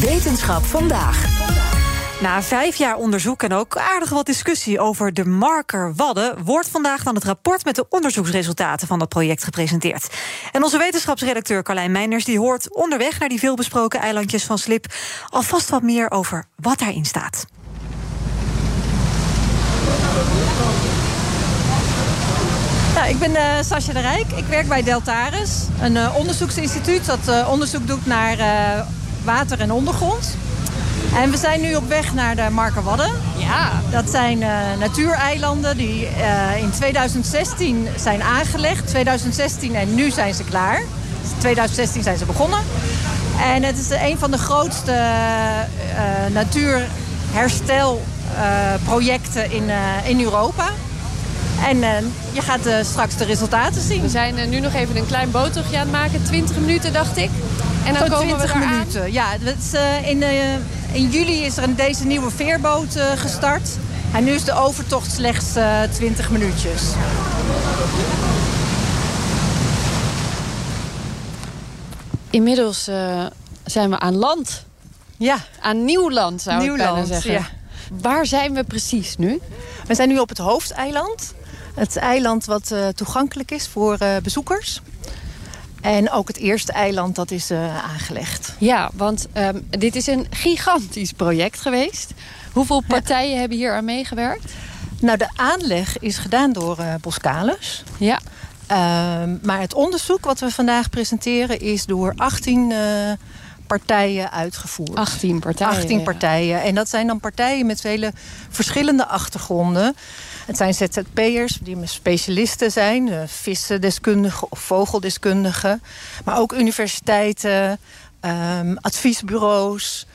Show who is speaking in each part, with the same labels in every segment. Speaker 1: Wetenschap vandaag. Na vijf jaar onderzoek en ook aardig wat discussie over de marker Wadden, wordt vandaag dan het rapport met de onderzoeksresultaten van dat project gepresenteerd. En onze wetenschapsredacteur Carlijn Meinders die hoort onderweg naar die veelbesproken eilandjes van Slip alvast wat meer over wat daarin staat.
Speaker 2: Nou, ik ben uh, Sascha de Rijk. Ik werk bij Deltaris, een uh, onderzoeksinstituut dat uh, onderzoek doet naar eh, water en ondergrond. En we zijn nu op weg naar de Markerwadden.
Speaker 3: Ja.
Speaker 2: Dat zijn eh, natuureilanden die eh, in 2016 zijn aangelegd. 2016 en nu zijn ze klaar. Dus 2016 zijn ze begonnen. En het is een van de grootste eh, natuurherstelprojecten eh, in, in Europa. En uh, je gaat uh, straks de resultaten zien.
Speaker 4: We zijn uh, nu nog even een klein boottochtje aan het maken. 20 minuten, dacht ik.
Speaker 2: En
Speaker 4: Oh,
Speaker 2: dan Tot komen 20 we minuten. Aan. Ja, het is, eh, in, in juli is er een, deze nieuwe veerboot eh, gestart. En nu is de overtocht slechts 20 minuutjes.
Speaker 4: Inmiddels eh, zijn we aan land.
Speaker 2: Ja.
Speaker 4: Aan nieuw land, zou
Speaker 2: nieuw
Speaker 4: ik bijna
Speaker 2: land,
Speaker 4: zeggen.
Speaker 2: Ja.
Speaker 4: Waar zijn we precies nu?
Speaker 2: We zijn nu op het hoofdeiland. Het eiland wat uh, toegankelijk is voor uh, bezoekers. En ook het eerste eiland dat is uh, aangelegd.
Speaker 4: Ja, want um, dit is een gigantisch project geweest. Hoeveel partijen ja. hebben hier aan meegewerkt?
Speaker 2: Nou, de aanleg is gedaan door eh, Boscalis. Ehm,
Speaker 4: Ja.
Speaker 2: maar het onderzoek wat we vandaag presenteren is door 18 partijen uitgevoerd.
Speaker 4: 18 partijen.
Speaker 2: 18
Speaker 4: ja.
Speaker 2: partijen. En dat zijn dan partijen met vele verschillende achtergronden. Het zijn ZZP'ers die specialisten zijn, vissendeskundigen of vogeldeskundigen. Maar ook universiteiten, um, adviesbureaus,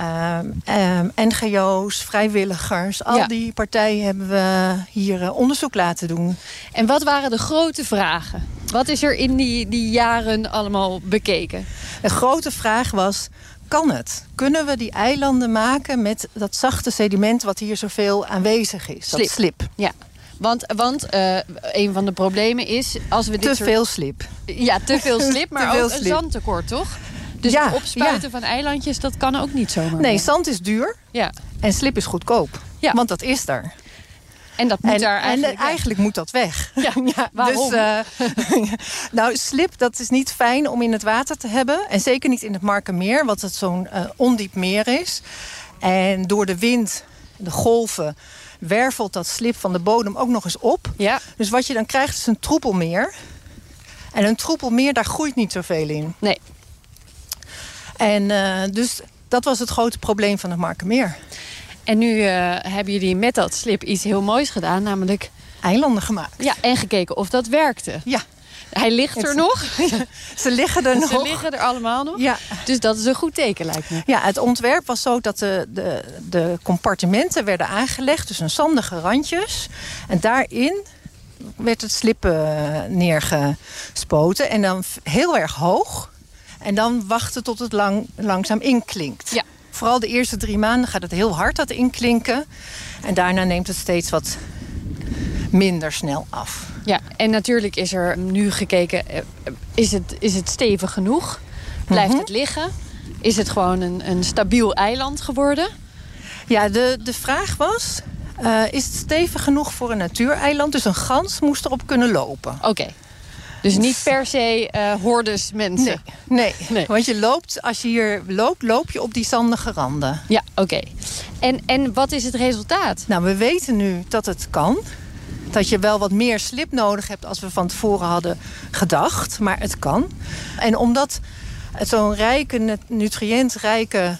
Speaker 2: um, um, NGO's, vrijwilligers. Al ja. die partijen hebben we hier uh, onderzoek laten doen.
Speaker 4: En wat waren de grote vragen? Wat is er in die, die jaren allemaal bekeken?
Speaker 2: Een grote vraag was, kan het? Kunnen we die eilanden maken met dat zachte sediment... wat hier zoveel aanwezig is, slip. dat slip?
Speaker 4: Ja. Want, want uh, een van de problemen is... Als we
Speaker 2: te
Speaker 4: dit
Speaker 2: soort... veel slip.
Speaker 4: Ja, te veel slip, maar veel ook slip. een zandtekort, toch? Dus ja, opspuiten ja. van eilandjes, dat kan ook niet zomaar.
Speaker 2: Nee, zand is duur
Speaker 4: ja.
Speaker 2: en slip is goedkoop. Ja. Want dat is er.
Speaker 4: En dat moet en, daar eigenlijk.
Speaker 2: En weg. eigenlijk moet dat weg.
Speaker 4: Ja, ja waarom?
Speaker 2: Dus, uh, nou, slip dat is niet fijn om in het water te hebben en zeker niet in het Markenmeer, wat het zo'n uh, ondiep meer is. En door de wind, de golven, wervelt dat slip van de bodem ook nog eens op.
Speaker 4: Ja.
Speaker 2: Dus wat je dan krijgt is een troepelmeer. En een troepelmeer, daar groeit niet zoveel in.
Speaker 4: Nee.
Speaker 2: En uh, dus dat was het grote probleem van het Markenmeer.
Speaker 4: En nu uh, hebben jullie met dat slip iets heel moois gedaan, namelijk...
Speaker 2: Eilanden gemaakt.
Speaker 4: Ja, en gekeken of dat werkte.
Speaker 2: Ja.
Speaker 4: Hij ligt er
Speaker 2: ze,
Speaker 4: nog.
Speaker 2: ze liggen er nog.
Speaker 4: Ze liggen er allemaal nog.
Speaker 2: Ja.
Speaker 4: Dus dat is een goed teken, lijkt me.
Speaker 2: Ja, het ontwerp was zo dat de, de, de compartimenten werden aangelegd. Dus een zandige randjes. En daarin werd het slip uh, neergespoten. En dan heel erg hoog. En dan wachten tot het lang, langzaam inklinkt.
Speaker 4: Ja
Speaker 2: vooral de eerste drie maanden gaat het heel hard dat inklinken. En daarna neemt het steeds wat minder snel af.
Speaker 4: Ja, en natuurlijk is er nu gekeken, eh, is het, is het stevig genoeg? Blijft mm -hmm. het liggen? Is het gewoon een, een stabiel eiland geworden?
Speaker 2: Ja, de, de vraag was, uh, is het stevig genoeg voor een natuureiland? Dus een gans moest erop kunnen lopen.
Speaker 4: Oké. Okay. Dus niet per se uh, hordes mensen.
Speaker 2: Nee, nee, nee. want je loopt, als je hier loopt, loop je op die zandige randen.
Speaker 4: Ja, oké. Okay. En, en wat is het resultaat?
Speaker 2: Nou, we weten nu dat het kan. Dat je wel wat meer slip nodig hebt als we van tevoren hadden gedacht. Maar het kan. En omdat het zo'n rijke, nutriëntrijke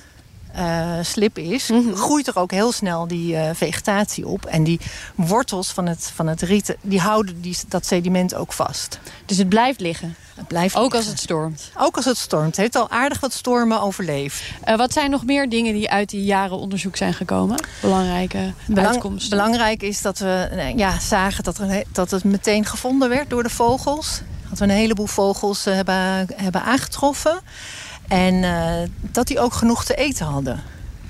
Speaker 2: eh, slip is, groeit er ook heel snel die eh, vegetatie op. En die wortels van het, van het riet, die houden die, dat sediment ook vast.
Speaker 4: Dus het blijft liggen.
Speaker 2: Het blijft
Speaker 4: Ook als
Speaker 2: liggen.
Speaker 4: het stormt.
Speaker 2: Ook als het stormt. Het heeft al aardig wat stormen overleefd.
Speaker 4: Eh, wat zijn nog meer dingen die uit die jaren onderzoek zijn gekomen? Belangrijke uitkomsten.
Speaker 2: belangrijk is dat we nee, ja, zagen dat, er, een he- dat het meteen gevonden werd door de vogels. Dat we een heleboel vogels eh, hebben, hebben aangetroffen. En eh, dat die ook genoeg te eten hadden.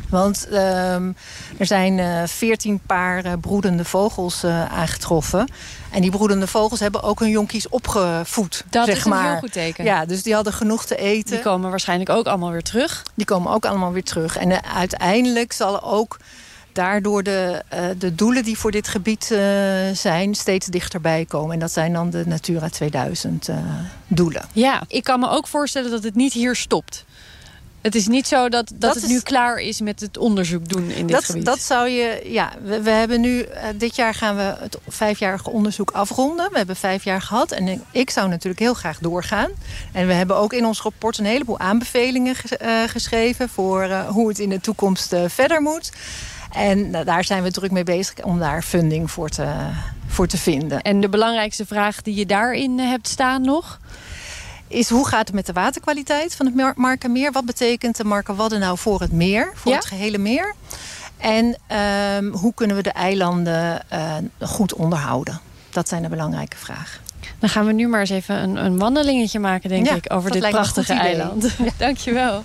Speaker 2: Want ehm, er zijn eh, veertien paar eh, broedende vogels eh, aangetroffen. En die broedende vogels hebben ook hun jonkies opgevoed.
Speaker 4: Dat
Speaker 2: zeg
Speaker 4: is een
Speaker 2: maar.
Speaker 4: heel goed teken.
Speaker 2: Ja, dus die hadden genoeg te eten.
Speaker 4: Die komen waarschijnlijk ook allemaal weer terug.
Speaker 2: Die komen ook allemaal weer terug. En eh, uiteindelijk zal ook daardoor de, eh, de doelen die voor dit gebied eh, zijn steeds dichterbij komen. En dat zijn dan de Natura 2000 eh, doelen.
Speaker 4: Ja, ik kan me ook voorstellen dat het niet hier stopt. Het is niet zo dat, dat,
Speaker 2: Dat
Speaker 4: het
Speaker 2: is-
Speaker 4: nu klaar is met het onderzoek doen in dit
Speaker 2: Dat,
Speaker 4: gebied.
Speaker 2: dat zou je, ja, we, we hebben nu, eh, dit jaar gaan we het vijfjarige onderzoek afronden. We hebben vijf jaar gehad en ik, ik zou natuurlijk heel graag doorgaan. En we hebben ook in ons rapport een heleboel aanbevelingen ges- eh, geschreven voor eh, hoe het in de toekomst eh, verder moet. En nou, daar zijn we druk mee bezig om daar funding voor te, voor te vinden.
Speaker 4: En de belangrijkste vraag die je daarin eh, hebt staan nog?
Speaker 2: Is hoe gaat het met de waterkwaliteit van het Mar- Markermeer? Wat betekent de Markerwadden nou voor het meer, voor
Speaker 4: Ja.
Speaker 2: het gehele meer? En ehm, hoe kunnen we de eilanden eh, goed onderhouden? Dat zijn de belangrijke vragen.
Speaker 4: Dan gaan we nu maar eens even een, een wandelingetje maken, denk
Speaker 2: Ja,
Speaker 4: ik, over
Speaker 2: dat
Speaker 4: dit
Speaker 2: lijkt me een
Speaker 4: prachtige
Speaker 2: goed idee.
Speaker 4: eiland. Dankjewel.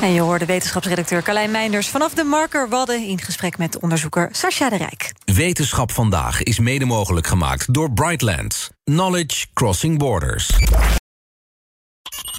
Speaker 1: En je hoorde wetenschapsredacteur Carlijn Meinders vanaf de Marker Wadden in gesprek met onderzoeker Sascha de Rijk.
Speaker 5: Wetenschap vandaag is mede mogelijk gemaakt door Brightlands. Knowledge Crossing Borders.